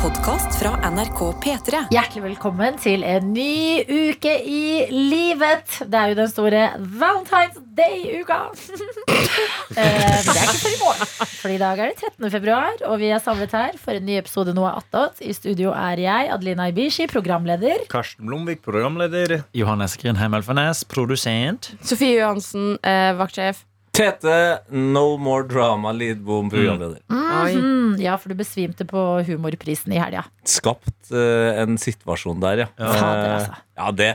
podkast fra NRK P3. Hjertelig velkommen til en ny uke i livet. Det er jo den store Valentine's Day-uka. Eh, Men det er ikke før i morgen, for i dag er det 13. februar, og vi er samlet her for en ny episode Noe attåt. I studio er jeg, Adelina Ibishi, programleder. Karsten Blomvik, programleder. Johannes Grindheim Elfenes, produsent. Sofie Johansen, eh, vaktsjef. Tete, no more drama, Lidbom, programleder. Mm, ja, for du besvimte på Humorprisen i helga. Skapt eh, en situasjon der, ja. Fader, Eh, altså. ja det,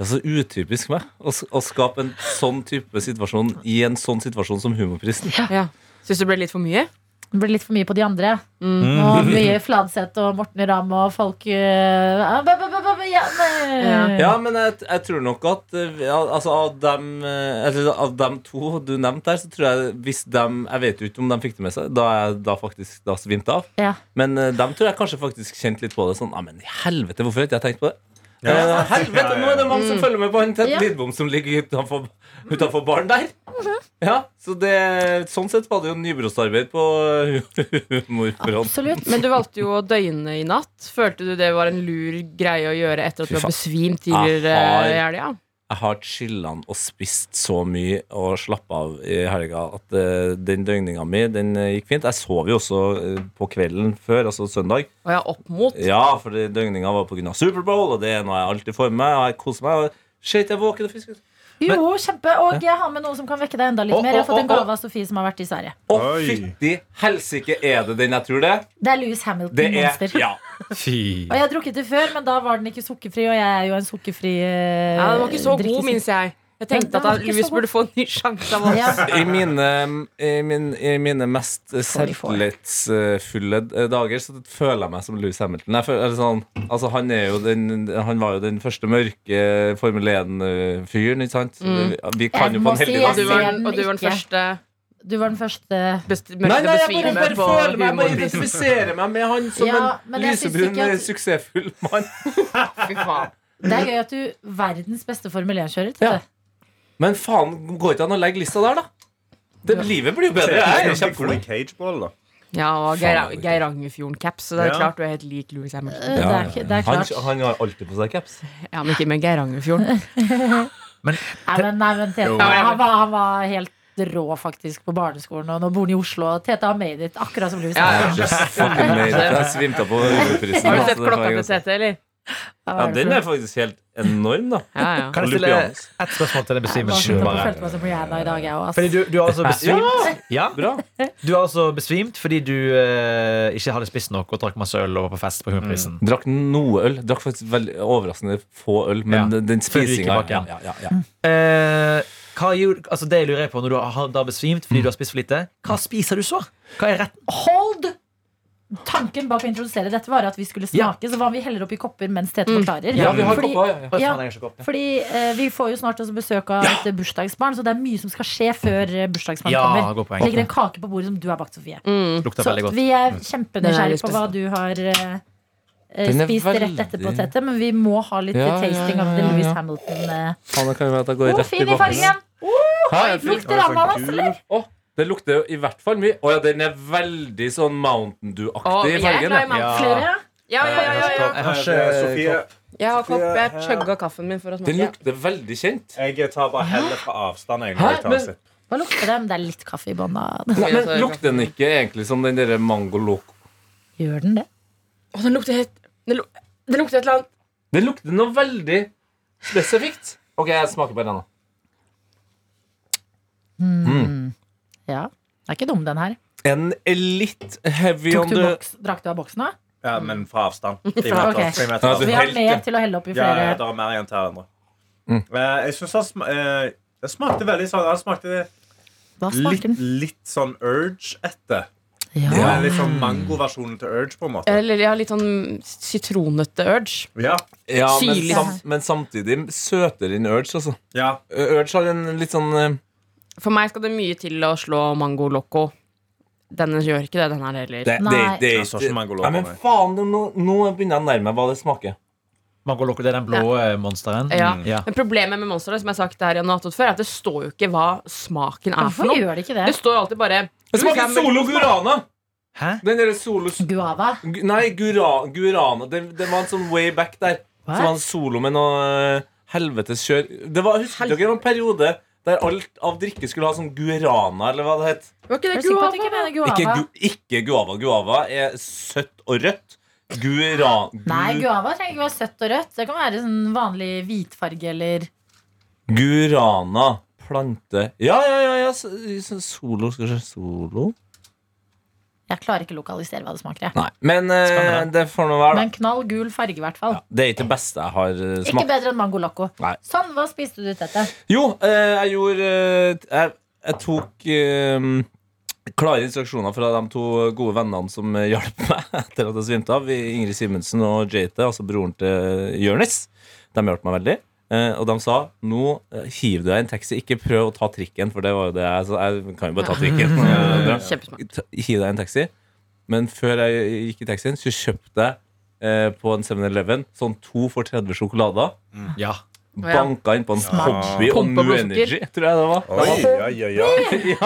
det er så utypisk meg å, s- å skape en sånn type situasjon i en sånn situasjon som Humorprisen. Ja. Syns det ble litt for mye? Det ble litt for mye på de andre. Mm. Og mye Fladseth og Morten Ramm og folk eh, ah, ba, ba, ba, ba, ba, ja, nei. Ja, men jeg, jeg tror nok at eh, ja, altså, av, dem, eh, eller, av dem to du nevnte der, så tror jeg hvis dem Jeg vet jo ikke om de fikk det med seg, da jeg da faktisk da svimte av. Ja. Men eh, dem tror jeg kanskje faktisk kjente litt på det. Sånn, Nei, men i helvete, hvorfor har ikke jeg tenkt på det? Ja. Eh, helvete, nå er det mange som følger med på han Tett Ja. Lidbom som ligger utenfor, utenfor baren der. Ja, så det, Sånn sett var det jo nybrottsarbeid på humorfronten. Absolutt. Men du valgte jo å døgne i natt. Følte du det var en lur greie å gjøre etter at Fy du har faen. besvimt tidligere Aha. eh, i helga? Jeg har chillan og spist så mye og slappa av i helga at eh, den døgninga mi den eh, gikk fint. Jeg sov jo også eh, på kvelden før, altså søndag. Og jeg er opp mot. Ja, for det- døgninga var pga. Superbowl, og det er noe jeg alltid får med meg. Og jeg koser meg. og Shit, jeg er våken og frisk. Jo, kjempe. Og jeg har med noe som kan vekke deg enda litt Å, mer. Jeg har fått å, en å, gave av Sofie som har vært i Sverige. Å, Oi. fytti helsike, er det den jeg tror det? Det er Louis Det er Hamilton-monster. Ja. Fy. Og jeg har drukket det før, men da var den ikke sukkerfri, og jeg er jo en sukkerfri eh, Ja, den var ikke så god, drikkes- minnes jeg. Jeg Den- den tenkte var at ikke så Louis god. burde få en ny sjanse av oss. Ja. I mine, i min, i mine mest vi får. selvtillitsfulle dager så føler jeg meg som Louis Hamilton. Jeg føler, eller sånn, altså, han, er jo den, han var jo den første mørke Formel 1-fyren, ikke sant? Vi, vi kan Mm. Jeg jo må på en heldig si Og dag du var, ser den og du var den ikke. første Du var den første best, Nei, mørkeste nei, jeg bare, besvime bare på føler meg, jeg bare humorprisen. identifiserer meg med han som Ja, men en jeg synes lysebrun, ikke at- suksessfull mann. Fy faen. Det er gøy at du verdens beste Formel 1-kjører. Ja. Men faen, går ikke an å legge lista der, da? Det, livet blir jo bedre. Jeg er kjempeflink. cageball, da. Ja, og Geir- Faen. Geirangerfjorden-caps. Så det er Ja. klart du er helt lik Louis Hamilton. Eh, Det, er, ikke- det er klart. Han, han har alltid på seg caps. Ja, men ikke med Geirangerfjorden. Nei, men, nei, men Tete, Jo. han, var, han var helt rå, faktisk, på barneskolen, og nå bor han i Oslo. Og Tete har made it, akkurat som Louis Ja, ja. Hamilton. Fucking made it. Jeg svimte på altså, juleprisen. Har du sett klokka til Tete, eller? Hva Ja, var det den for- er faktisk helt enorm, da. Ja, ja. Kan jeg stille Olympianos. ett spørsmål til Jeg den var besvimelsen? sånn at jeg Bare. følte meg som Rihanna i dag, jeg òg. Fordi du, du har altså Ja, besvimt Ja, bra. du har altså besvimt fordi du eh, ikke hadde spist nok og drakk masse øl og var på fest på Humorprisen. Drakk noe øl. Drakk faktisk veldig overraskende få øl, men Ja. den- den Før du gikk i spisinga bakken. ja, ja, ja. Eh, hva gjorde, altså det lurer jeg på når du har da besvimt fordi du har spist for lite. Hva spiser du så? Hva er retten? Hold! Tanken bak å introdusere dette var at vi skulle smake, så hva om vi heller oppi kopper mens Tete forklarer? Mm. Ja, vi har fordi kopper, ja, ja. Å, Ja. faen, jeg er så kopp, ja. fordi eh, vi får jo snart også besøk av et bursdagsbarn, så det er mye som skal skje før eh, bursdagsbarn Ja, kommer. godt poeng. Det ligger en kake på bordet som du har bakt, Sofie. Mm. Lukter Så veldig godt. vi er Den er kjempenysgjerrige litt på hva du har eh, eh, Den er spist rett veldig- etterpå, Tete, men vi må ha litt Ja, ja, tasting av ja, the ja, Louis ja. Hamilton. eh. Faen, det kan jo være at jeg går Å, rett i fin i bakken. fargen! Oh, Hæ, jeg fikk- lukter ananas, eller? Å, det lukter jo i hvert fall mye. Å ja, den er veldig sånn Å, Mountain Dew-aktig jeg er i fargen. glad i ja. Mountain Ja. Flere? Ja, ja, ja, ja, ja. Jeg har ikke eh, Sofie, Jeg har kopp, jeg Ja. chugga kaffen min for å Den smake. lukter veldig kjent. jeg tar bare heller fra avstand. Jeg, når Hæ? jeg tar Men- en sipp. Hva lukter det? Men Det er litt kaffe i bånn. da. Nei, men Lukter den ikke egentlig som den derre mango loco? Gjør den det? Å, den lukter helt Den, lu- den lukter et eller annet Den lukter noe veldig spesifikt. Ok, jeg smaker på den nå. Ja. Det er ikke dum, den her. En litt heavy Tok on du the boks, drakk du av boksen òg? Ja, men fra avstand. Tre Fra- meter. ok. Tre meter Ja, du- Vi avstand. har Altså, Helt, mer ja. til å helle oppi Ja, flere. ja, det er mer igjen til hverandre. Mm. Eh, Jeg syns han sm eh, det smakte veldig sånn Han smakte det Hva smaker litt, den? litt sånn Urge etter. Ja. Ja. Litt sånn mangoversjonen til Urge, på en måte. Eller jeg har litt sånn sitronete urge. Ja. Ja, men, Syrlig. sam, men samtidig søtere enn Urge, altså. ja. Urge har en litt sånn eh, For meg skal det mye til å slå mango loco. Denne gjør ikke det, den her heller. Det, det, Nei. det, Jeg så ikke mango loco, Nei, men nei. faen, det- nå, nå begynner jeg å nærme meg hva det smaker. Mango loco, det er den blå eh, monsteren? Ja. Mm, ja. Men problemet med Monster, som jeg har sagt her i Natot før, er at det står jo ikke hva smaken er Hvorfor for noe. gjør det ikke det? Det står jo alltid bare Det smaker Solo Gurana! Hæ? Den derre solo Guava. Gu- Nei, Gura, Gurana. Det, det var en sånn way back der. Hva? Som var en solo med noe eh, helvetes kjør. Det var, husker dere det var en periode der alt av drikke skulle ha sånn Gurana, eller hva det het? Var ikke Er du det sikker på at du guava? ikke mener guava? Ikke, gu, ikke Guava. Guava er søtt og rødt. Gura... Gu, Nei, guava trenger ikke være søtt og rødt. Det kan være sånn vanlig hvitfarge eller Gurana. Plante Ja, ja, ja. ja s- s- solo, skal vi se. Solo? Jeg klarer ikke å lokalisere hva det smaker. Jeg. Nei. Men eh, Spennende. det får nå være, Men knall gul farge, i hvert fall. da. Det er ikke det beste jeg har eh, Ikke smakt. bedre enn mango loco. Nei. Sånn, hva spiste du til dette? Jo, eh, jeg gjorde eh, jeg, jeg tok eh, klare instruksjoner fra de to gode vennene som eh, hjalp meg etter at jeg svimte av. Ingrid Simensen og JT, altså broren til Jonis. De hjalp meg veldig. Eh, og de sa nå eh, hiv du deg i en taxi, ikke prøv å ta trikken, for det var jo det jeg sa. Jeg kan jo bare ta trikken. Kjempesmart. Ta- Hiv deg i en taxi. Men før jeg gikk i taxien, så kjøpte jeg eh, på en 7-Eleven sånn to for 30 sjokolader. Ja. Ja. Banka innpå en hobby og Pumpa New blodsukker. Energy, tror jeg det var. Oi, oi, oi, oi.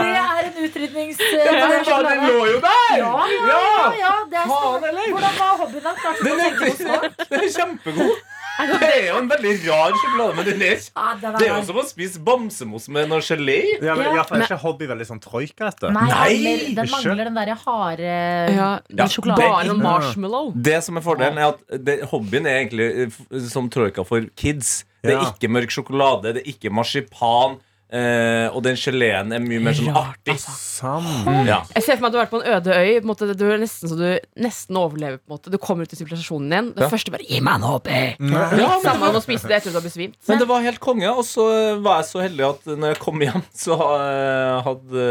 Det er en utrydnings... Den lå jo der! sånn Ja, ja, ja, ja, det er stort. Hvordan var hobbyen din? Klarte du å tenke på smak? Den er kjempegod. Det er jo en veldig rar sjokolade, men den er Ja, den er det er jo rar. som å spise bamsemos med noe gelé. i. Ja, men, ja, for er ikke hobby veldig sånn troika, dette? Nei, Nei, eller den ikke. mangler den derre harde Ja, Ja, den sjokoladen. det- Bare noen marshmallow. Det som er fordelen, er at det, hobbyen er egentlig eh, f- som troika for kids. Det er Ja. ikke mørk sjokolade, det er ikke marsipan, eh, og den geleen er mye mer sånn Rart, artig. altså. Sammen. Ja. Jeg ser for meg at du har vært på en øde øy. På en måte, du er nesten så du nesten overlever. på en måte Du kommer ut til sivilisasjonen igjen. Det Ja. første bare Gi meg en hobby! Ja, Litt men- samme om å spise det etter at du har besvimt. Men det var helt konge, og så var jeg så heldig at når jeg kom hjem, så eh, hadde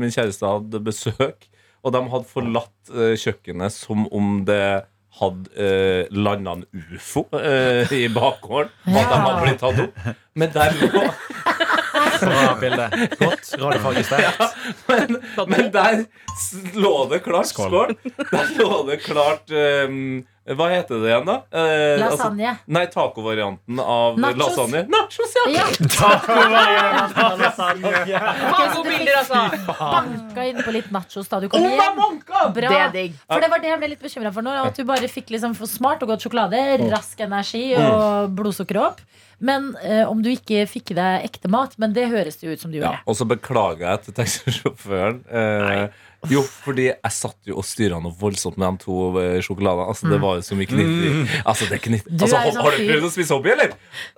min kjæreste hadde besøk, og de hadde forlatt eh, kjøkkenet som om det hadde eh, landa en ufo eh, i bakgården. At de hadde blitt tatt opp. Men der lå, Bra bilde. Godt. Radiofarge sterkt. men, men der s- lå det klart Skål. Skål. Der lå det klart eh, Hva heter det igjen, da? Eh, altså- lasagne. Nei, tacovarianten av Nachos. lasagne. Nachos, ja! Ja, Faen, gode bilder, altså! banka innpå litt nachos da du kom Om jeg hjem. banka! Bra. Det er digg. For det var det jeg ble litt bekymra for nå. At du bare fikk liksom for smart og godt sjokolade, Mm. rask energi og blodsukker opp. Men eh, om du ikke fikk i deg ekte mat. Men det høres det jo ut som du Ja, gjorde. og så beklager jeg til taxisjåføren. Eh, jo, fordi jeg satt jo og styra noe voldsomt med de to eh, sjokoladene. Altså, Det var jo så mye knitring. Altså, det er knitt... Mm. Du er altså, jo har, sånn har du fyr. prøvd å spise hobby, eller?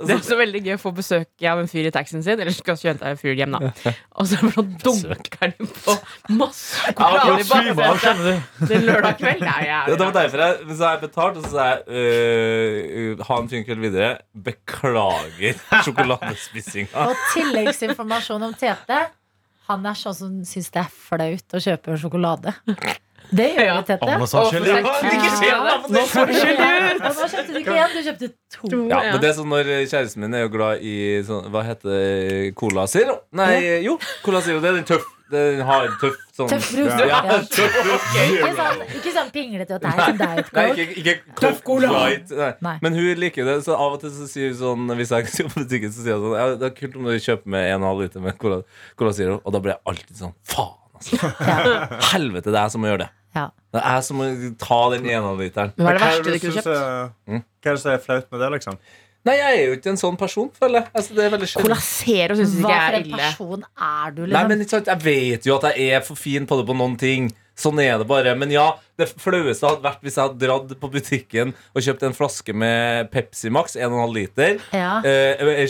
Det er så veldig gøy å få besøk av en fyr i taxien sin. Eller skal hente en fyr hjem, da. Og så bare sånn, dunker de på masse sjokolade i baksetet skjønner du. en lørdag kveld. Det er Det jævlig var bra. derfor jeg, hvis jeg er betalt, og så sa jeg eh, ha en fin kveld videre. Beklager sjokoladespisinga. Og tilleggsinformasjon om Tete. Han er sånn som syns det er flaut å kjøpe sjokolade. Det gjør jo Ja. Tete. Nå sa Å, han skyld. for Ja, sent. ikke skjer det, da, for Ja, det- og Nå kjøpte du ikke én, du kjøpte to. Ja, men det er sånn når Kjæresten min er jo glad i sånn, Hva heter det? Cola Zero? Nei, jo, Cola Zero. Det er den tøff. Den har en tøff sånn Tøff brus. Ja, Ja. tøff brus. Ikke sånn, ikke sånn pinglete at det er ikke diet Nei, coke. ikke, ikke Coke Light. Nei. Nei. Men hun liker det, så av og til så sier hun sånn Hvis jeg skal på butikken, så sier hun sånn ja, Det er kult om du kjøper med en og en halv liter med Cola, Cola Zero, og da blir jeg alltid sånn Faen, altså. Ja. Helvete, det er jeg som må gjøre det. Ja. Det er jeg som må ta den ene literen. Men Hva hva er det er verste det du du kunne syns kjøpt? er- Hva er det som er flaut med det, liksom? Nei, jeg er jo ikke en sånn person, føler jeg. Altså, det er veldig sjelden. Colasero syns Hva ikke for er en ille. person er du, Nei, liksom? men ikke sant, Jeg vet jo at jeg er for fin på det på noen ting. Sånn er det bare. Men ja, det flaueste hadde vært hvis jeg hadde dratt på butikken og kjøpt en flaske med Pepsi Max, 1,5 liter, Ja. eh, ei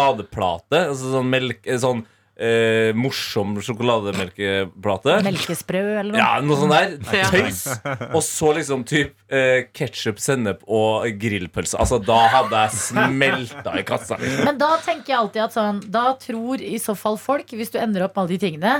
sjokoladeplate, altså sånn melk eh, Sånn eh, morsom sjokolademelkeplate. Melkesprø eller noe? Ja, noe sånt der. Ja. Tøys. Og så liksom typ eh, ketsjup, sennep og grillpølse. Altså, da hadde jeg smelta i kassa. liksom. Men da tenker jeg alltid at sånn Da tror i så fall folk, hvis du ender opp med alle de tingene,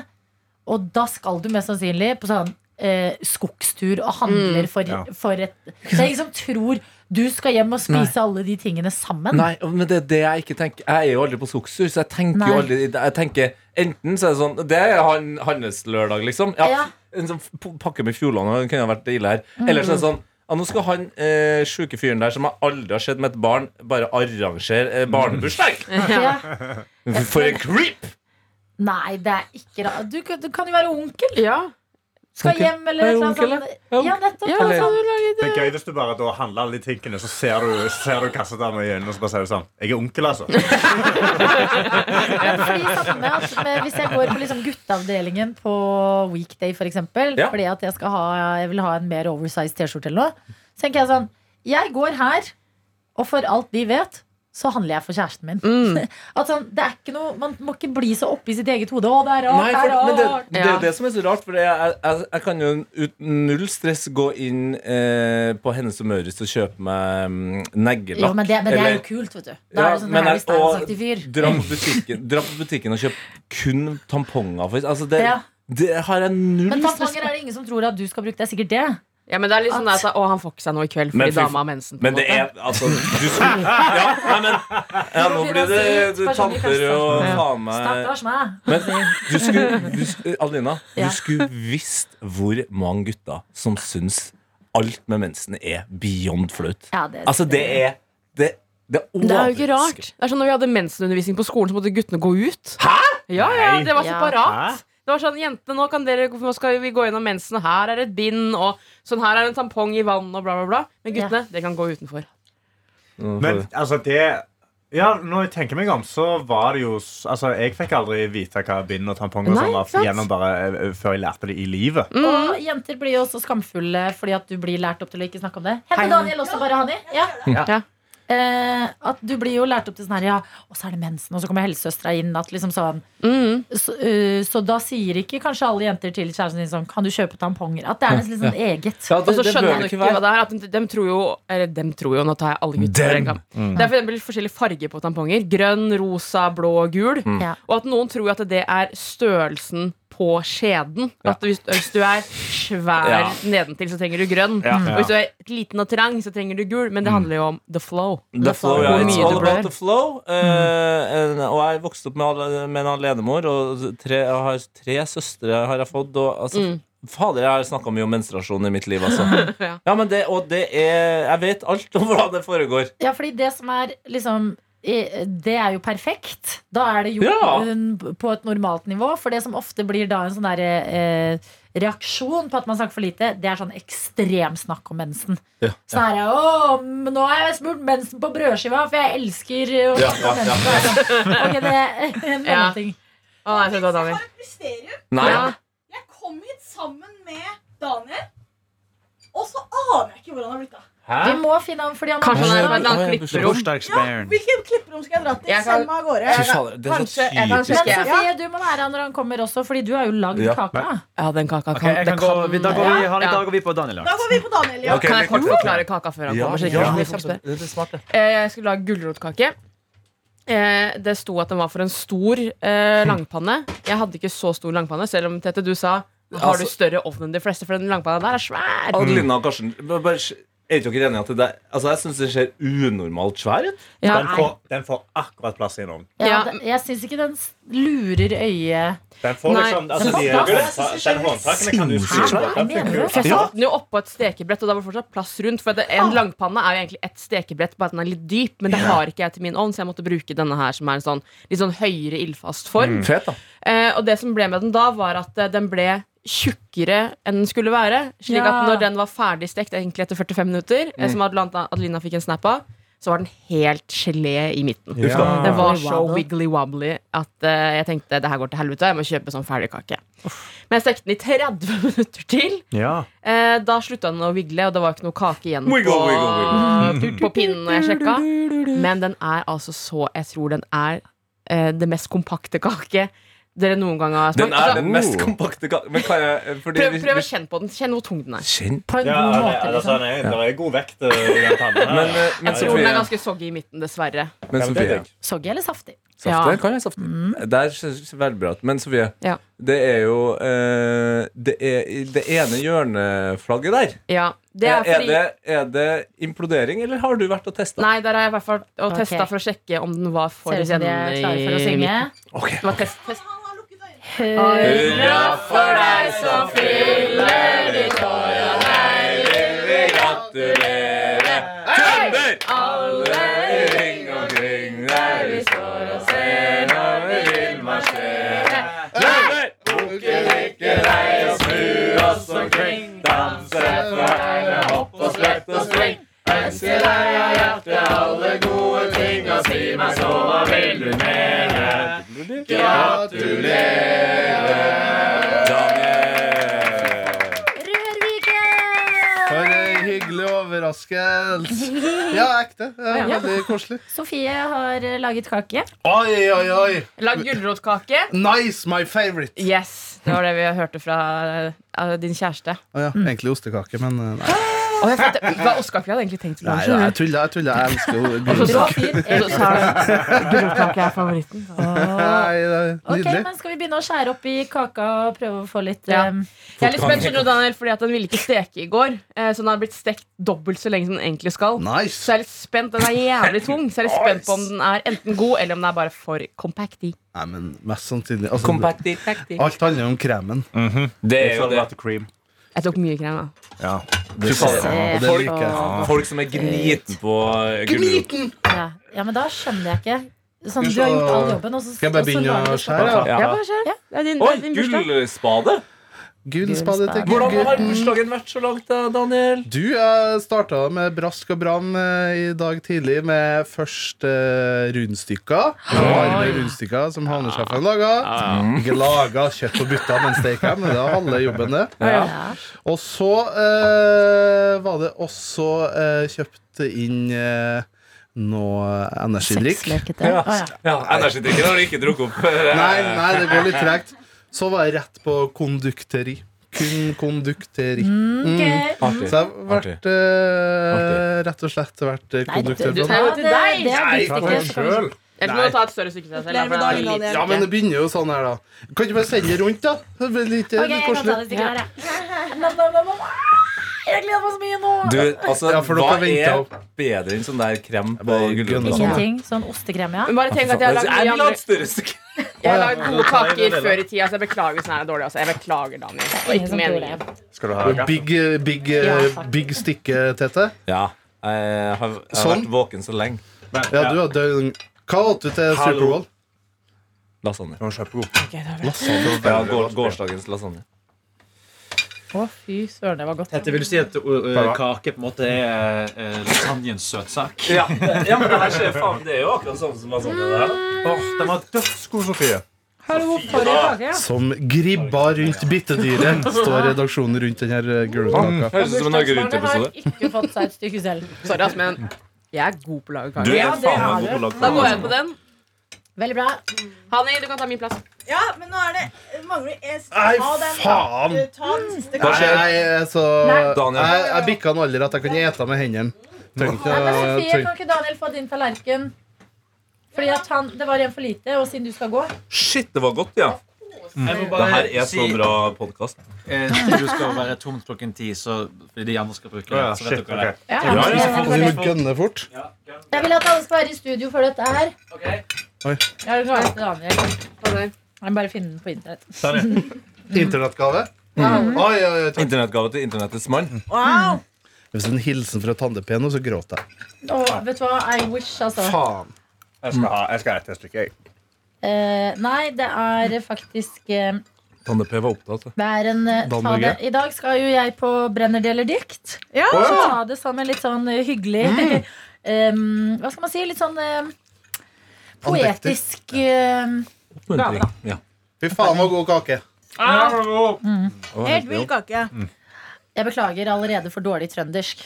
og da skal du mest sannsynlig på sånn eh, skogstur og Mm. handler for, Ja. for et Det er ingen som tror du skal hjem og spise alle de tingene sammen. Nei, men det er det jeg ikke tenker. Jeg er jo aldri på skogstur, så jeg tenker jo Nei. aldri Jeg tenker enten så er det sånn Det er han, hans lørdag, liksom. Ja, Ja. Mm. En sånn p- pakke med Fjordland det kunne ha vært ille her. Eller så er det sånn ja, Nå skal han eh, sjuke fyren der som jeg aldri har sett med et barn, bare arrangere eh, barnebursdag! Ja. For en creep! Nei, det er ikke ra- Du, kan- du kan jo være onkel. Ja. Skal Onkel. hjem eller Jeg et er eller annet onkel, sånt. Jeg er Ja, nettopp. ja Ja, så sånn. du lager Det er gøy hvis du bare da handler alle de tingene, så ser du, ser du kassadama i øynene og så bare sier du sånn Jeg er onkel, altså. Men fordi samme at med, Hvis jeg går på liksom gutteavdelingen på weekday, for eksempel, Ja. fordi at jeg, skal ha, jeg vil ha en mer oversized T-skjorte eller noe, så tenker jeg sånn Jeg går her, og for alt de vet, så handler jeg for kjæresten min. Mm. At sånn, det er ikke noe, Man må ikke bli så oppi sitt eget hode. Å, det er rart! Nei, det er for, men rart. det, det er jo Ja. det som er så rart, for jeg, jeg, jeg- jeg kan jo uten null stress gå inn eh, på Hennes og Møres og kjøpe meg mm, neglelakk. jo, men det, men det er eller- jo kult, vet du. Da Ja, er det sånn men Harry jeg- og Styles-aktig fyr. Dra på butikken, dra på butikken og kjøpe kun tamponger. For, altså det, Ja. det har jeg null Men stress tamponger er det ingen som tror at du skal bruke. Det er sikkert det. Ja, men det er litt sånn At- at Å, han får ikke seg noe i kveld Men fordi fy- dama har mensen. på en Men det måte. er altså du, skulle- ja, nei, men, ja, Nå blir det du, tanter og faen meg Stakkars meg. Men du skulle, du, sk- Adelina, Ja. du skulle visst hvor mange gutter som syns alt med mensen er beyond flaut. Ja, det, Altså, det er Det, det er Det er jo ikke overraskende. rart. Det er sånn når vi hadde mensenundervisning på skolen, så måtte guttene gå ut. Hæ? Ja, ja, Det var Nei. separat. Det var sånn, jentene, nå, kan dere, nå skal vi gå gjennom mensen, og her er et bind, og sånn her er en tampong i vann, og bla, bla, bla. Men guttene, dere kan gå utenfor. Men altså, det ja, Når jeg tenker meg om, så var det jo s- Altså, Jeg fikk aldri vite hva bind og tampong og Nei, sånn var ikke sant? Mm. gjennom bare eh, før jeg lærte det i livet. Og jenter blir jo også skamfulle fordi at du blir lært opp til å ikke snakke om det. Hente Daniel også, bare Hani. Ja. Ja. Eh, at du blir jo lært opp til sånn her, ja, og så er det mensen, og så kommer helsesøstera inn. At liksom sånn, så, eh, så da sier ikke kanskje alle jenter til kjæresten din sånn, kan du kjøpe tamponger? At det er nesten litt sånn eget. Ja, Og så det bør skjønner man det ikke ikke hva være. det er. At de, dem tror jo Eller dem tror jo, nå tar jeg alle gutter. Dem. en gang. Det er for eksempel forskjellige farger på tamponger. Grønn, rosa, blå, gul. Ja. Og at noen tror at det er størrelsen på skjeden. At hvis, hvis du er svær Ja. nedentil, så trenger du grønn. Ja. Mm. Og hvis du er liten og trang, så trenger du gul. Men det handler jo om the flow. The flow, ja. Hvor It's mye all det Mm. blør. about the flow. Eh, en, og jeg vokste opp med, alle- med en alenemor, og tre, jeg har tre søstre har jeg fått. Og, altså, Mm. Fader, jeg har snakka mye om menstruasjon i mitt liv, altså. Ja. ja, men det, og det er Jeg vet alt om hvordan det foregår. Ja, fordi det som er liksom eh, det er jo perfekt. Da er det jo Ja. en- på et normalt nivå. For det som ofte blir da en sånn der, eh, reaksjon på at man snakker for lite, det er sånn ekstrem snakk om mensen. Ja. Sånn her, Å, men nå har jeg smurt mensen på brødskiva, for jeg elsker å Ja, snakke om ja, ja. mensen. Altså, Ok, det er en Ja. mellomting. Å, nei, så er det Daniel. har et mysterium. Nei. Ja. Jeg kom hit sammen med Daniel, og så aner jeg ikke hvor han har blitt av. Vi må finne ham fordi han Kanskje han er Oi, på et oi, annet oi, klipperom. Hvilke klipperom skal jeg dra til? Jeg kan- Send meg av gårde. Fy fader, det er Kanskje- så jeg kan Men typisk. Ja. Sofie, du må være han når han kommer også, fordi du har jo lagd Ja. kaka. Ja, den kaka kan, Ok, jeg kan det gå, kan vi, da, går vi, Harry, Ja. da går vi på Daniel. Da går vi på Daniel. Ja. Ok, Kan men jeg kort kort- forklare kaka før han Ja, kommer? så ikke ja, det blir det kjempe- er smart, det. Eh, Jeg skulle lage gulrotkake. Eh, det sto at den var for en stor eh, langpanne. Jeg hadde ikke så stor langpanne, selv om Tete, du sa har du Altså- større ovn enn de fleste, for den langpanna der er svær. Adelina og Karsten, bare, bare, er ikke dere enige at det der Altså, jeg syns det ser unormalt svær ut. Ja, Den får, den får akkurat plass i noen. Ja, Ja. det- jeg syns ikke den s- lurer øyet Den får Nei, liksom altså, den får de, plass. håndta- Den håndtakene kan du Hæ? skru på. Hva Den mener funker du? jo. for jeg Ja. satte den jo oppå et stekebrett, og det var fortsatt plass rundt. For det, Ah. en langpanne er jo egentlig et stekebrett, bare at den er litt dyp. Men det har ikke jeg til min ovn, så jeg måtte bruke denne her, som er en sånn, litt sånn høyere ildfast form. Fet, da. Eh, og det som ble med den da, var at eh, den ble tjukkere enn den skulle være. Slik Ja. at når den var ferdig stekt egentlig etter 45 minutter, eh, som Adelina, Adelina fikk en snap av, så var den helt gelé i midten. Uff da. Det var Oi, så wobble. wiggly-wobbly at eh, jeg tenkte det her går til helvete. Jeg må kjøpe sånn ferdigkake. Men jeg stekte den i 30 minutter til. Ja. Eh, da slutta den å vigle, og det var ikke noe kake igjen Wiggle, på, wiggle, på pinnen. når jeg sjekka Men den er altså så Jeg tror den er eh, det mest kompakte kake dere noen gang har smakt. Den er Altså, den mest kompakte ka- Men kan jeg fordi prøv, vi- prøv å kjenne på den. Kjenn hvor tung den er. Kjenn på en Ja, god det, måte. altså, Liksom. sånn, nei, det er god vekt eh, i den pannen. Men, eh, men Jeg tror den er Sofie, ganske soggy i midten, dessverre. men Ja, men det er Sofie digg. Soggy eller saftig? Safte Ja. kan jeg safte. Der ser det veldig bra ut. Men Sofie, Ja. det er jo eh, det, er, i det ene hjørneflagget der. Ja, det er fordi det, er det implodering, eller har du vært og testa? Nei, der har jeg i hvert fall og Ok. testa for å sjekke om den var for Ser ut som de er klare for å synge. Det var test, test. Han har lukket øynene. Hurra for deg som fyller ditt år, og deg vil vi gratulere. Tømmer! Alle ring omkring der vi står og ser når vi vil marsjere. danse for hele hopp og slett og sving. Ønsker deg av hjertet alle gode ting, og si meg så, hva vil du mere? Gratulerer, Daniel. Rørviken! For en hyggelig overraskelse. Ja, ekte. Det er veldig koselig. Sofie har eh, laget kake. Oi, oi, oi. Lag gulrotkake. Nice, my favorite. Yes, det var det vi hørte fra eh, din kjæreste. Å ja, egentlig ostekake, men eh, nei. Og jeg følte, hva Oscar-kake hadde jeg egentlig tenkt på. nei skjønner jeg tuller, jeg tuller. Jeg elsker jo Rå gulrot. fyr. du? Så sa du, Gulrotkake er favoritten. Nei, det Ok, er Nydelig. men Skal vi begynne å skjære opp i kaka og prøve å få litt Ja. eh, Jeg er litt spent, skjønner du, Daniel, fordi at den ville ikke steke i går. eh, Så den har blitt stekt dobbelt så lenge som den egentlig skal. Så Nice. jeg er litt spent, Den er jævlig tung, så jeg er litt spent på om den er enten god eller om den er bare for compacty. Nei, men mest sannsynlig altså, Compacty. Alt handler om kremen. Det er jo Sånn det. butter cream. Jeg tok mye krem, da. Ja. Du faen. Og det liker jeg. Folk som er gniten på gulrot. ja. ja, men da skjønner jeg ikke. Sånn, Skal vi du har se- gjort all jobben. Og så, Skal jeg bare og så begynne lager å du skjære? sånn. ja? Ja, Ja. bare kjør. Ja, det er din, Oi, det er din bursdag. gullspade! Gullspade til Hvordan har gullgutten. bursdagen vært så langt, da, Daniel? Du jeg starta med brask og bram eh, i dag tidlig med først eh, rundstykker. Varme rundstykker som havnesjefen laga. Ikke laga kjøtt på butta, men steika. Men det var halve jobben, det. Og så eh, var det også eh, kjøpt inn eh, noe energidrikk. Sexlekete. Å, ja. Ja, Energidrikken har du ikke drukket opp. Nei, nei, det går litt tregt. Så var jeg rett på kondukteri. Kun kondukteri. Ok. Så jeg har vært eh, rett og slett vært eh, Nei, du- konduktør du- på Nei, Ja, til det, deg. det er Nei, ditt ikke. sånn- så kan vi- Jeg tror du må ta et større stykke til deg selv. da, Gratulerer for med det er dagen, litt- Ja, men det begynner jo sånn her, da. Kan ikke bare sende det rundt, da? Det blir litt, Ok, litt jeg kan ta koselig. det stikket her, jeg. Nam, nam, nam, nam. Jeg gleder meg så mye nå! Du, altså, Ja, for dere hva har ventet er opp. bedre enn sånn der krem på bare gønner. gulrot? Ingenting. Sånn ostekrem, ja. Men bare tenk at jeg har Jeg lagd mye vil ha et andre større stykke. Jeg har lagd Ja, gode ja. kaker før i tida, så jeg beklager hvis den er dårlig. Altså. Jeg beklager, Daniel. Det var Ingen ikke som tror meningen. det. Skal du ha Og big, eh, big, eh, Ja, takk. big stykke, Tete. Ja, jeg har, jeg har Sånn. vært våken så lenge. Ja, du har døgn... Hva åt du til Hallo. Superbowl? Lasagne. Den var kjempegod. Ja, går, gårsdagens lasagne. Å, fy søren, det var godt. Dette vil du si at uh, Bra. kake på en måte er lasagnens søtsak? Ja, men det her skjer faen Det er jo akkurat sånn som lasagne. Åh, den var dødsgod, Sofie. Hallo, for en kake, ja. Som gribba rundt bittedyret, står redaksjonen rundt den her eh, gulrotkaka. Høres ut som en Norge Rundt-episode. ikke fått seg et stykke selv. Sorry, ass, men jeg er god på å lage Du kaker. er faen meg god på å Da går lage jeg på den. Veldig bra. Hani, du kan ta min plass. Ja, men nå er det mangler jeg, Nei, Ta den, faen! da. Eh, Ta den siste Nei, kanskje. jeg, er så, Nei. Daniel. jeg, jeg bikka en alder at jeg kunne ete med hendene. eh, Trenger ikke Nei, men å- Sofie, trenger- kan ikke Daniel få din tallerken? Fordi at han, Det var en for lite, og siden du skal gå Shit, det var godt, ja. Jeg må Det bare her er så si- bra podkast. Eh, Studio skal være tomt klokken ti, så fordi de andre skal bruke Ja, det. Så vet shit, dere det. ok. ja, ja, jeg ja. kan Vi få det. må gønne fort. Jeg vil at alle skal være i studio for dette her. Oi. Jeg er den gladeste Daniel. Ta den. Jeg må bare finne den på internett. Internettgave. Oi, oi, oi, takk. Internettgave til internettets mann. Wow. Hvis det er en hilsen fra Tande-P nå, så gråter jeg. Og vet du hva? I wish, altså. Faen. Jeg skal ha jeg skal ha et stykke. jeg. Eh, nei, det er faktisk eh, Tande P var opptatt. Det er en eh, ta Dannebrog. det. I dag skal jo jeg på Brenner det eller dikt. Ja. Så ta det som en litt sånn eh, hyggelig eh, Hva skal man si? Litt sånn eh, poetisk eh, Oppmuntring. Ja. Fy faen, var god kake. Ah! Helt vill kake. Mm. Jeg beklager allerede for dårlig trøndersk.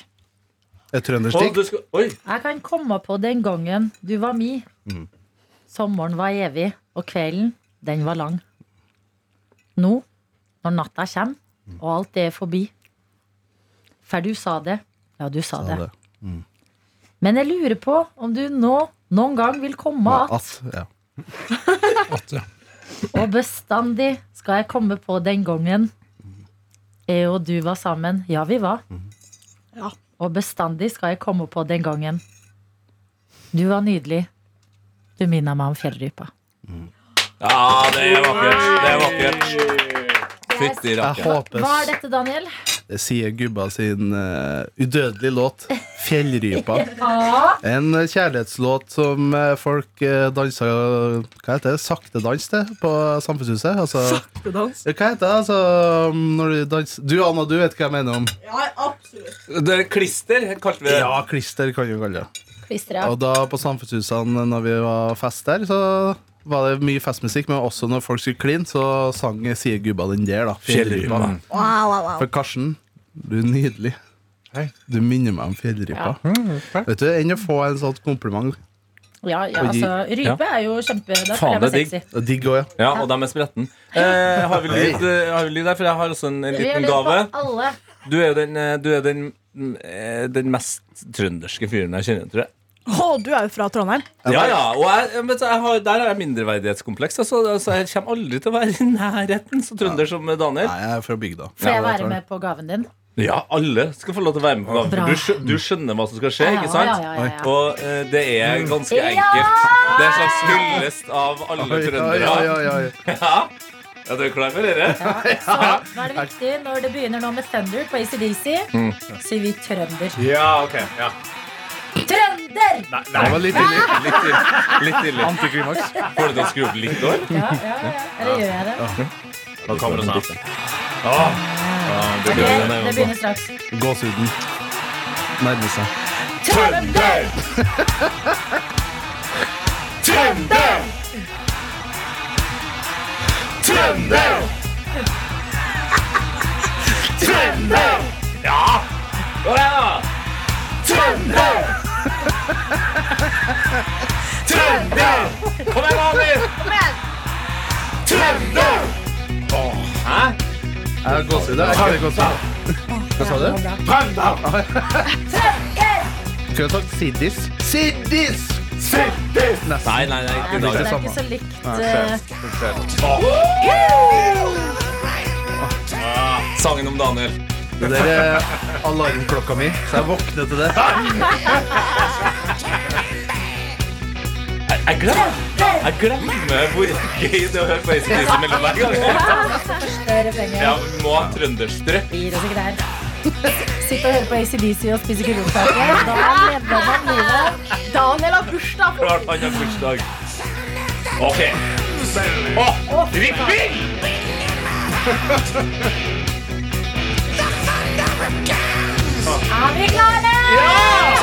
Et Å, trønderstikk. du skal, oi, Jeg kan komme på den gangen du var mi. Sommeren var evig, og kvelden, den var lang. Nå, når natta kommer, og alt det er forbi. For du sa det. Ja, du sa, det. det. Men jeg lurer på om du nå noen gang vil komme att, At, ja. og bestandig skal jeg komme på den gangen jeg og du var sammen. Ja, vi var. Ja. Og bestandig skal jeg komme på den gangen. Du var nydelig. Du minner meg om fjellrypa. Ja, det er vakkert. Det er vakkert. Fytti Jeg rakkeren. håper Hva er dette, Daniel? Det sier gubba sin eh, udødelige låt 'Fjellrypa'. Ah, En kjærlighetslåt som eh, folk eh, dansa Hva heter det? Saktedans til på Samfunnshuset. Altså, Dans. hva heter det altså når du danser Du, Anna, du vet hva jeg mener om. Ja, absolutt. Det er klister, kalte vi det. Ja, klister kan vi kalle det. klistret. Og da på Samfunnshusene, når vi var fest der, så var det mye festmusikk, men også når folk skulle kline, så sang Sier gubba den der, da. Fjellrypa. For Karsten, du er nydelig. Hei. Mm, Du minner meg om fjellrypa. takk. Vet du, Enn å få en sånn kompliment. Ja, ja, Og de- altså, rype er jo kjempe Da Faen, føler jeg meg det er digg. sexy. Og Digg òg, ja. Ja, og dem er spretten. Eh, har vi lyd eh, har vi lyd der? For jeg har også en, en Vi har liten lyst på gave. alle. Du er jo den, eh, du er den, mm, eh, den mest trønderske fyren jeg kjenner, tror jeg. Å, du er jo fra Trondheim. Ja, ja, og jeg, men så jeg har, Der har jeg mindreverdighetskompleks. Altså, altså, jeg kommer aldri til å være i nærheten så trønder som Daniel. Nei, jeg er fra bygda. Får jeg Ja, det være tror jeg. med på gaven din? Ja, alle skal få lov til å være med. på Bra. gaven, for Du, skjø- du skjønner hva som skal skje, Ja, ikke sant? ja, ja, ja. Og eh, det er ganske Ja! enkelt. Det er en slags hyllest av alle Oi, oi, trøndere. oi, oi, oi. Ja, du er klar for dere? Så nå er det viktig når det begynner nå med Thunder på ACDC, Mm. sier vi trønder. Ja, ok. Ja. Trønder! Nei, Det nei. var litt ille. Litt ille. Litt ille. Får du til å skru opp litt år? Ja, ja, ja. Eller gjør jeg det? Nå kommer det snart. Ok, det begynner straks. Gåsehuden nærmer seg. Trønder! Kom igjen, Daniel! Trønder! Jeg har gåsehud. jeg har ikke gåsehud. Hva sa du? Skulle jeg sagt siddis? Siddis! Siddis! Nesten. Nei, nei, nei. Ja, ikke for Daniel. Det er ikke så likt eh, Sangen om Daniel. Det der er alarmklokka mi, så jeg våkner til det. Jeg glemmer, jeg glemmer hvor gøy det er å høre på ACDC mellom hver gang. større penger. Ja, vi må ha trønderstrøk. Gir oss ikke der. Sitte og høre på ACDC og spise gulrotkake. Da lever man livet. Daniel har bursdag. Klart han har bursdag. OK. Å, Riktig! Er vi klare? Ja!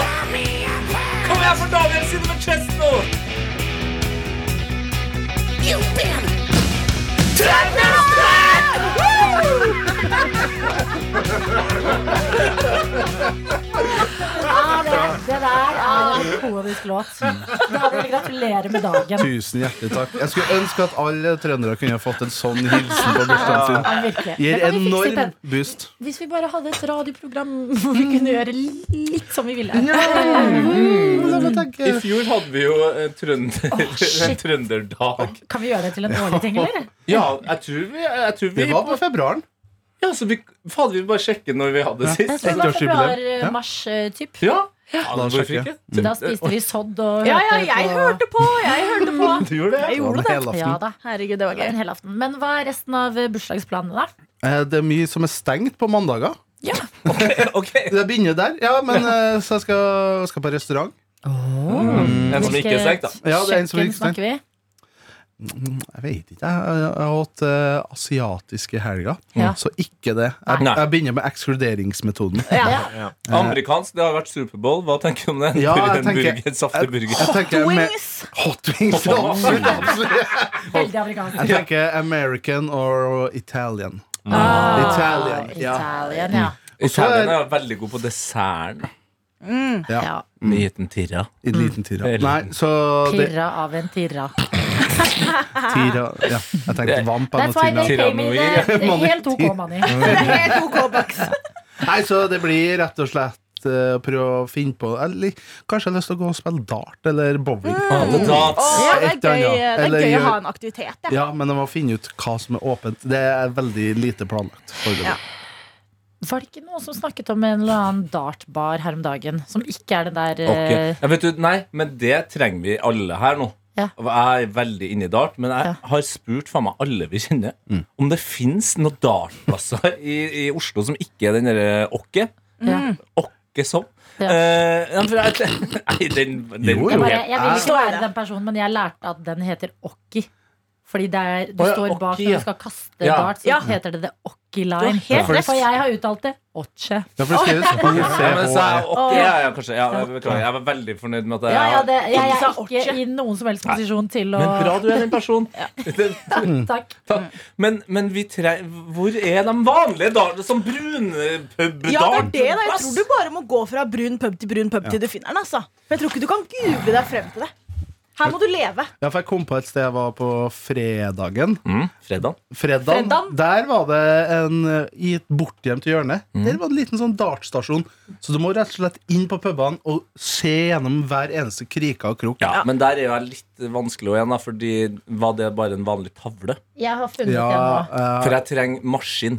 Kom igjen for Daniel sine med chest nå! Ja, det, det der er en ikonisk låt. Daniel, gratulerer med dagen. Tusen hjertelig takk. Jeg skulle ønske at alle trøndere kunne ha fått en sånn hilsen på bursdagen sin. Ja, virkelig. Det Gir kan vi fikse i enorm pen- boost. Hvis vi bare hadde et radioprogram hvor vi kunne gjøre litt som vi ville. Mm. Mm. I fjor hadde vi jo eh, trønder, shit. trønderdag. Kan vi gjøre det til en årlig ting, eller? Ja, jeg tror vi, jeg tror vi, Det var på februaren. ja, så vi Fader, vi bare sjekke når vi hadde Jeg sist. tror det var Ettårsjubileum. eh, Ja. februar-mars-typ. Ja. Da hvorfor sjekker jeg. ikke? Da spiste vi sodd og Ja, ja, jeg hørte på. Jeg hørte på. Du gjorde det? Jeg gjorde det. Hele Ja aften. da. Herregud, det var En gøy. hel aften. Men hva er resten av bursdagsplanene, da? Eh, Det er mye som er stengt på mandager. ja. Ok. Det begynner der, ja, men eh, så jeg skal, skal på restaurant. En som ikke er stengt, da. Ja, det er en som Kjøkken ikke er stengt. snakker vi. Jeg vet ikke. Jeg jeg- jeg har hatt eh, asiatiske helger, Ja. så ikke det. Jeg, Nei. jeg begynner med ekskluderingsmetoden. Ja. Amerikansk, det har vært Superbowl. Hva tenker du om den? Eh. Ja, jeg den tenker- Eh, burger, saftig burger. Jeg tenker med- Wings. Hot wings! Hot wings. absolutt, absolutt. Veldig amerikansk. Jeg tenker American or Italian. Mm. Ah, Italian, ja. Italien, ja. Italienerne er veldig god på desserten. ja. ja. En liten tirra. I liten tira. Mm. Nei, så det, Pirra av en tirra. tira ja. Jeg tenkte vamp av That's why Tina. they pay me the, Tyrannoid. the eh, helt OK money. Helt OK bucks. Nei, så det blir rett og slett eh, prøve å finne på eller, Kanskje jeg har lyst til å gå og spille dart eller bowling. Potats. Å, Mm. det er Et gøy, det eller er annet. gøy Eller å ha gjør- en aktivitet. Ja. Ja, men jeg må finne ut hva som er åpent. Det er veldig lite planlagt. foreløpig. Ja. Var det ikke noen som snakket om en eller annen dartbar her om dagen? Som ikke er den der Ok. eh, Ja, vet du, nei, men det trenger vi alle her nå. Ja. Og Jeg er veldig inne i dart, men jeg har spurt faen meg alle vi kjenner Mm. om det fins noen dartplasser i, i Oslo som ikke er den derre Åkke. Ja. Åkke som. Ja. Eh, ja, for jeg, nei, den, den Jo, Jeg, jo. bare, jeg vil Ja. ikke være den personen, men jeg lærte at den heter Okki. Fordi det er, du Å ja, står bak Okki, når ja. du skal kaste Ja. dart, så Ja. heter det The Okki Du har Line. helt For jeg har uttalt det Otche. Ja, for det skrives Ja, men så er OCHE. jeg ok, ja, ja, kanskje. Ja, jeg beklager. Jeg var veldig fornøyd med at Ja, jeg ja, det, jeg Ikke sa er ikke Otche. i noen som helst posisjon til å Men bra du er den personen. Takk. Takk. Men, men vi tre... hvor er de vanlige dartene? Sånn brunpub-dart? Ja, det er det da. Jeg tror du bare må gå fra brun pub til brun pub til du finner den. altså For Jeg tror ikke du kan google deg frem til det. Her må du leve. Ja, for jeg kom på et sted jeg var på fredagen. mm, Fredag. Fredagen, Fredagen? Der var det en eh, i et bortgjemt hjørne. Mm. Der var det en liten sånn dartstasjon. Så du må rett og slett inn på pubene og se gjennom hver eneste krika og krok. Ja, Men der er jo jeg litt vanskelig igjen, da, fordi var det bare en vanlig tavle? Jeg har funnet Ja, det nå. eh, For jeg trenger maskin.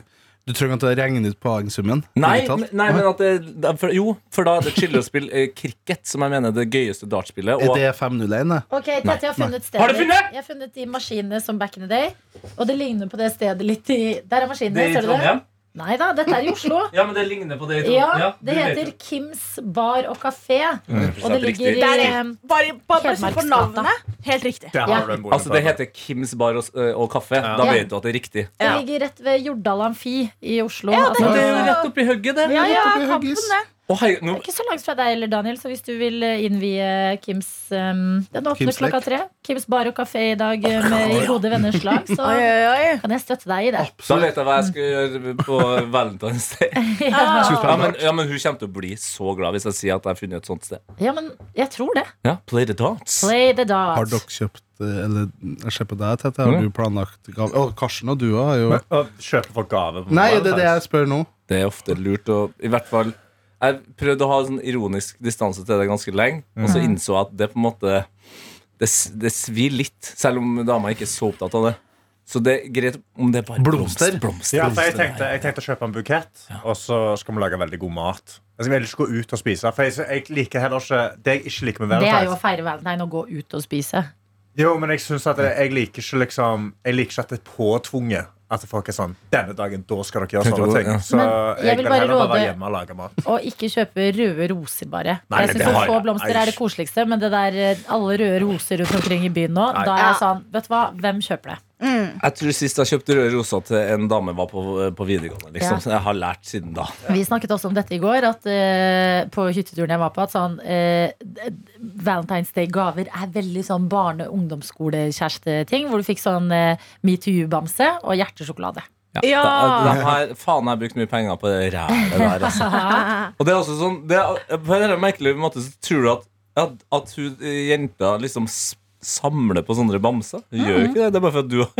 Du trenger ikke å regne ut poengsummen? Nei, digitalt. men- nei, men at det, da- for, Jo, for da er det chille å spille eh, cricket, som jeg mener er det gøyeste dartspillet. Er Og det 501, det? Ok, Tete, jeg har funnet stedet. Har du funnet? Jeg har funnet de maskinene som back in the day. Og det ligner på det stedet litt i Der er maskinene, det er i ser du det? Trondheim? Nei da, dette er i Oslo. Ja, men det ligner på det i Trondheim. Ja, du det vet Mm. heter jo. Kims bar og kafé. Og det riktig. ligger i Der er- eh, Bare, bare se på Hedmarksgata. navnet. Helt riktig. Der Ja. har du den boken. Altså, det heter Kims bar og, s- og kaffe. Da Ja. vet du at det er riktig. Det Ja. ligger rett ved Jordal Amfi i Oslo. Ja, Altså, det- Det er jo rett oppi hugget, det. ja, ja, Rett oppi kampen, Høggis. det. Å, hei, nå, Ikke så langt fra deg heller, Daniel, så hvis du vil eh, innvie Kims um, Den åpner Kims lek. klokka tre. Kims bar og kafé i dag eh, med i gode venners lag, så Oi, oi, oi. kan jeg støtte deg i det. da vet jeg hva jeg skal gjøre på Valentine's Day. Ja, Ja, men, ja, men hun kommer til å bli så glad hvis jeg sier at jeg har funnet et sånt sted. ja men jeg tror det. Ja, Play the darts. Play the Har dot. dere kjøpt eh, Eller jeg ser på deg, Tete. Mm. Har du planlagt gave? Å, Karsten og du har jo Og kjøper folk gave. på Nei, det er det jeg spør nå. Det er ofte lurt å I hvert fall Jeg prøvde å ha sånn ironisk distanse til det ganske lenge, og Mm. så innså jeg at det på en måte Det, s- det svir litt, selv om dama ikke er så opptatt av det. Så det er greit om det er bare Blomster. blomster, Ja, for jeg blomster. tenkte, jeg tenkte å kjøpe en bukett, og så skal vi lage veldig god mat. Altså, Jeg skal heller ikke gå ut og spise. For jeg, jeg liker heller ikke Det jeg ikke liker med Det er jo å Valentine's feire valentine og gå ut og spise. Jo, men jeg synes at jeg, jeg liker ikke liksom Jeg liker ikke at det er påtvunget. At folk er sånn Denne dagen, da skal dere gjøre Tenkte sånne du- ting. ja. Så Men jeg jeg vil vil bare heller bare være råde- hjemme og lage mat. Og ikke kjøpe røde roser, bare. Nei, jeg det synes å har Få jeg. blomster er det Eish. koseligste, men det der eh, alle røde roser rundt omkring i byen nå, da er jeg sånn Vet du hva, hvem kjøper det? Jeg tror sist jeg kjøpte røde roser til en dame var på, på videregående. Liksom. Ja. Så jeg har lært siden da. Vi snakket også om dette i går, at eh, på hytteturen jeg var på, at sånn eh, d- d- Valentine's Day-gaver er veldig sånn barne- og ungdomsskolekjæresteting, hvor du fikk sånn eh, metoo-bamse og hjertesjokolade. Ja. Da, Ah. de her, faen, jeg har brukt mye penger på det rælet der. Altså. Og det er også sånn det er, På en eller annen merkelig måte så tror du at, at, at hun, eh, jenta liksom s- samler på sånne bamser. Hun gjør jo ikke det. Det er bare for at du har,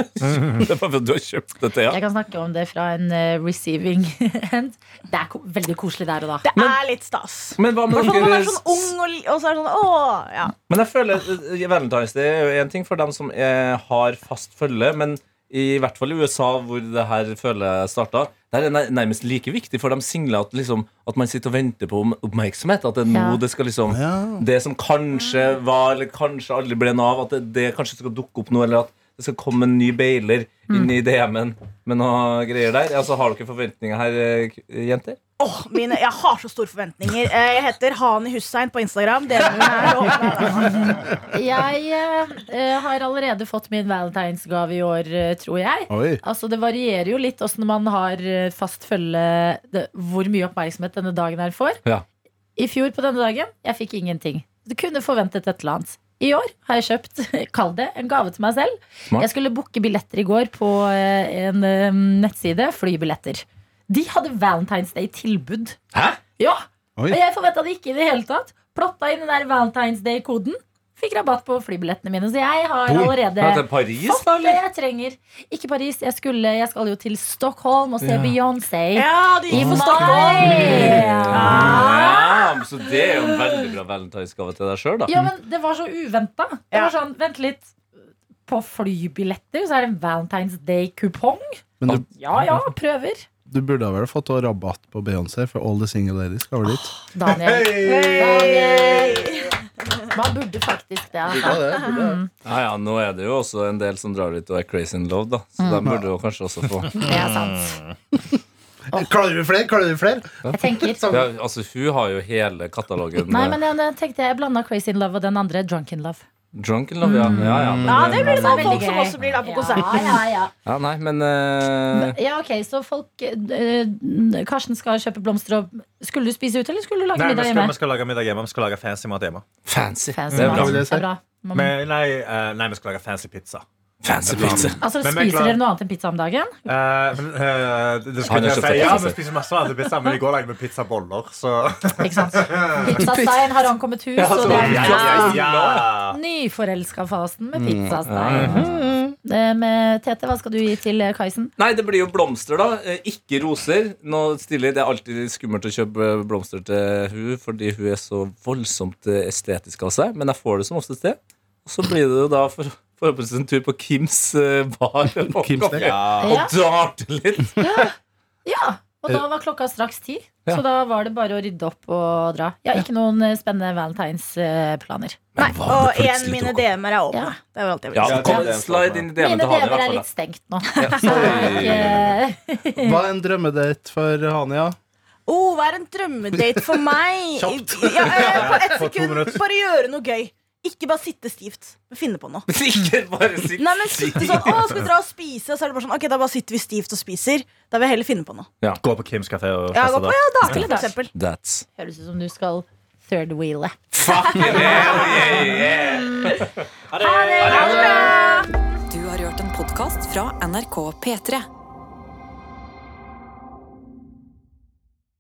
det er bare for at du har kjøpt det til Jeg henne. kan snakke om det fra en eh, receiving end. Det er ko veldig koselig der og da. Det er litt stas. Men hva med Hvertfall når dere man er sånn ung og, li- og så er det sånn åh, ja. Men jeg føler eh, Valentine's Day er jo én ting for dem som er, har fast følge, men i hvert fall i USA, hvor det her følget starta, der er det nærmest like viktig for de single at, liksom, at man sitter og venter på om- oppmerksomhet. At det er nå Ja. det skal liksom Ja. Mm. Det som kanskje var, eller kanskje aldri ble noe av, at det, det kanskje skal dukke opp nå, eller at det skal komme en ny bailer Mm. inn i DM-en med noe greier der. Altså, har dere forventninger her, eh, k- jenter? Åh, mine, jeg har så store forventninger. Eh, Jeg heter Hani Hussein på Instagram. Dere mine er åpne. Jeg eh, eh, har allerede fått min valentinsgave i år, eh, tror jeg. Oi. Altså Det varierer jo litt åssen man har eh, fast følge det, hvor mye oppmerksomhet denne dagen her får. Ja. I fjor på denne dagen jeg fikk ingenting. Du kunne forventet et eller annet. I år har jeg kjøpt kall det, en gave til meg selv. Smart. Jeg skulle booke billetter i går på eh, en eh, nettside. Flybilletter. De hadde Valentine's Day-tilbud. Hæ? Ja, Og Oi. jeg forventa det ikke i det hele tatt. Plotta inn den der Valentine's Day-koden. Fikk rabatt på flybillettene mine. Så jeg har Hvor? allerede Ja, til Paris? fått det jeg trenger. Ikke Paris. Jeg, skulle, jeg skal jo til Stockholm og se Beyoncé. Ja, du I gikk for Stockholm. mai! Ja, men så det er jo en veldig bra valentinsgave til deg sjøl, da. Ja, men det var så uventa. Det var sånn, vent litt. På flybilletter så er det en Valentine's Day-kupong. Men du, Ja ja, prøver. du burde vel fått rabatt på Beyoncé, for all the single ladies skal vel dit. Daniel. Hey! Daniel. Man burde faktisk det. Ja, Altså. det er bra. Ja, ja, nå er det jo også en del som drar ut og er crazy in love, da. Så Mm. de burde jo kanskje også få Det er sant. Klarer du flere? Klarer du flere? Jeg tenker ja, Altså, hun har jo hele katalogen. eh, Nei, men jeg, jeg tenkte jeg blanda Crazy in Love og den andre Drunk in Love. Drunken love, ja. Ja, ja, men, eh, Ja, Mm. det blir det Det er sånn veldig folk som gøy. også blir der på konsert. Ja, ja, ja. ja, nei, men eh, ja, ok, så folk eh, Karsten skal kjøpe blomster og Skulle du spise ute, eller skulle du lage Nei, vi middag skal, hjemme? vi skal lage middag hjemme. Vi skal lage fancy mat hjemme. Fancy. Fancy Det er mat. bra. vil jeg si. Det er bra. Man- Mhm. Men, nei, eh, nei, vi skal lage fancy pizza. Fancy pizza. Altså, Men vi er Spiser klar- dere noe annet enn pizza om dagen? Eh, men, eh, det Han skal har jeg kjøpt si. det, Ja, altså. vi spiser masse vanlig pizza, men i går lagde vi pizzaboller, så Ikke sant? Pizzastein har ankommet hus, og det er ja, ja. nyforelska-fasen Mm, med pizzastein. Mhm. Eh, Med Tete, hva skal du gi til eh, Kaisen? Nei, det blir jo blomster, da. Eh, Ikke roser. Nå stiller jeg- Det er alltid skummelt å kjøpe blomster til hun fordi hun er så voldsomt eh, estetisk av seg, men jeg får det som oftest det. Og så blir det jo da for, forhåpentligvis en tur på Kims eh, bar og Kims, det. Ja. og drar til litt. ja. Og Eh. da var klokka straks ti, så da var det bare å rydde opp og dra. Ja, ikke noen eh, spennende valentinsplaner. Nei, hva om og det igjen plutselig mine dukker opp? DM-er er Ja. åpne. Det er jo alltid jeg vil si. Ja, kom, Ja. slide inn i DM-en Mine til Hane. i deler er hvert litt fall, stengt nå. Eh, da. Hva er en drømmedate for Hania? Oh, hva er en drømmedate for meg? Kjapt. Ja, eh, på ett På to sekund. minutter. Bare gjøre noe gøy. Ikke bare sitte stivt. Finne på noe. Ikke bare si Nei, men sitte sånn, å, skal vi dra og spise? Og så er det bare sånn, ok, da bare sitter vi stivt og spiser. Da vil jeg heller finne på noe. Gå på Kims kafé og Ja, feste gå på der. ja, Ja. dagen, for eksempel. That's Høres ut som du skal third wheele. fucking hell, yeah, yeah. Ha det! Du har hørt en podkast fra NRK P3.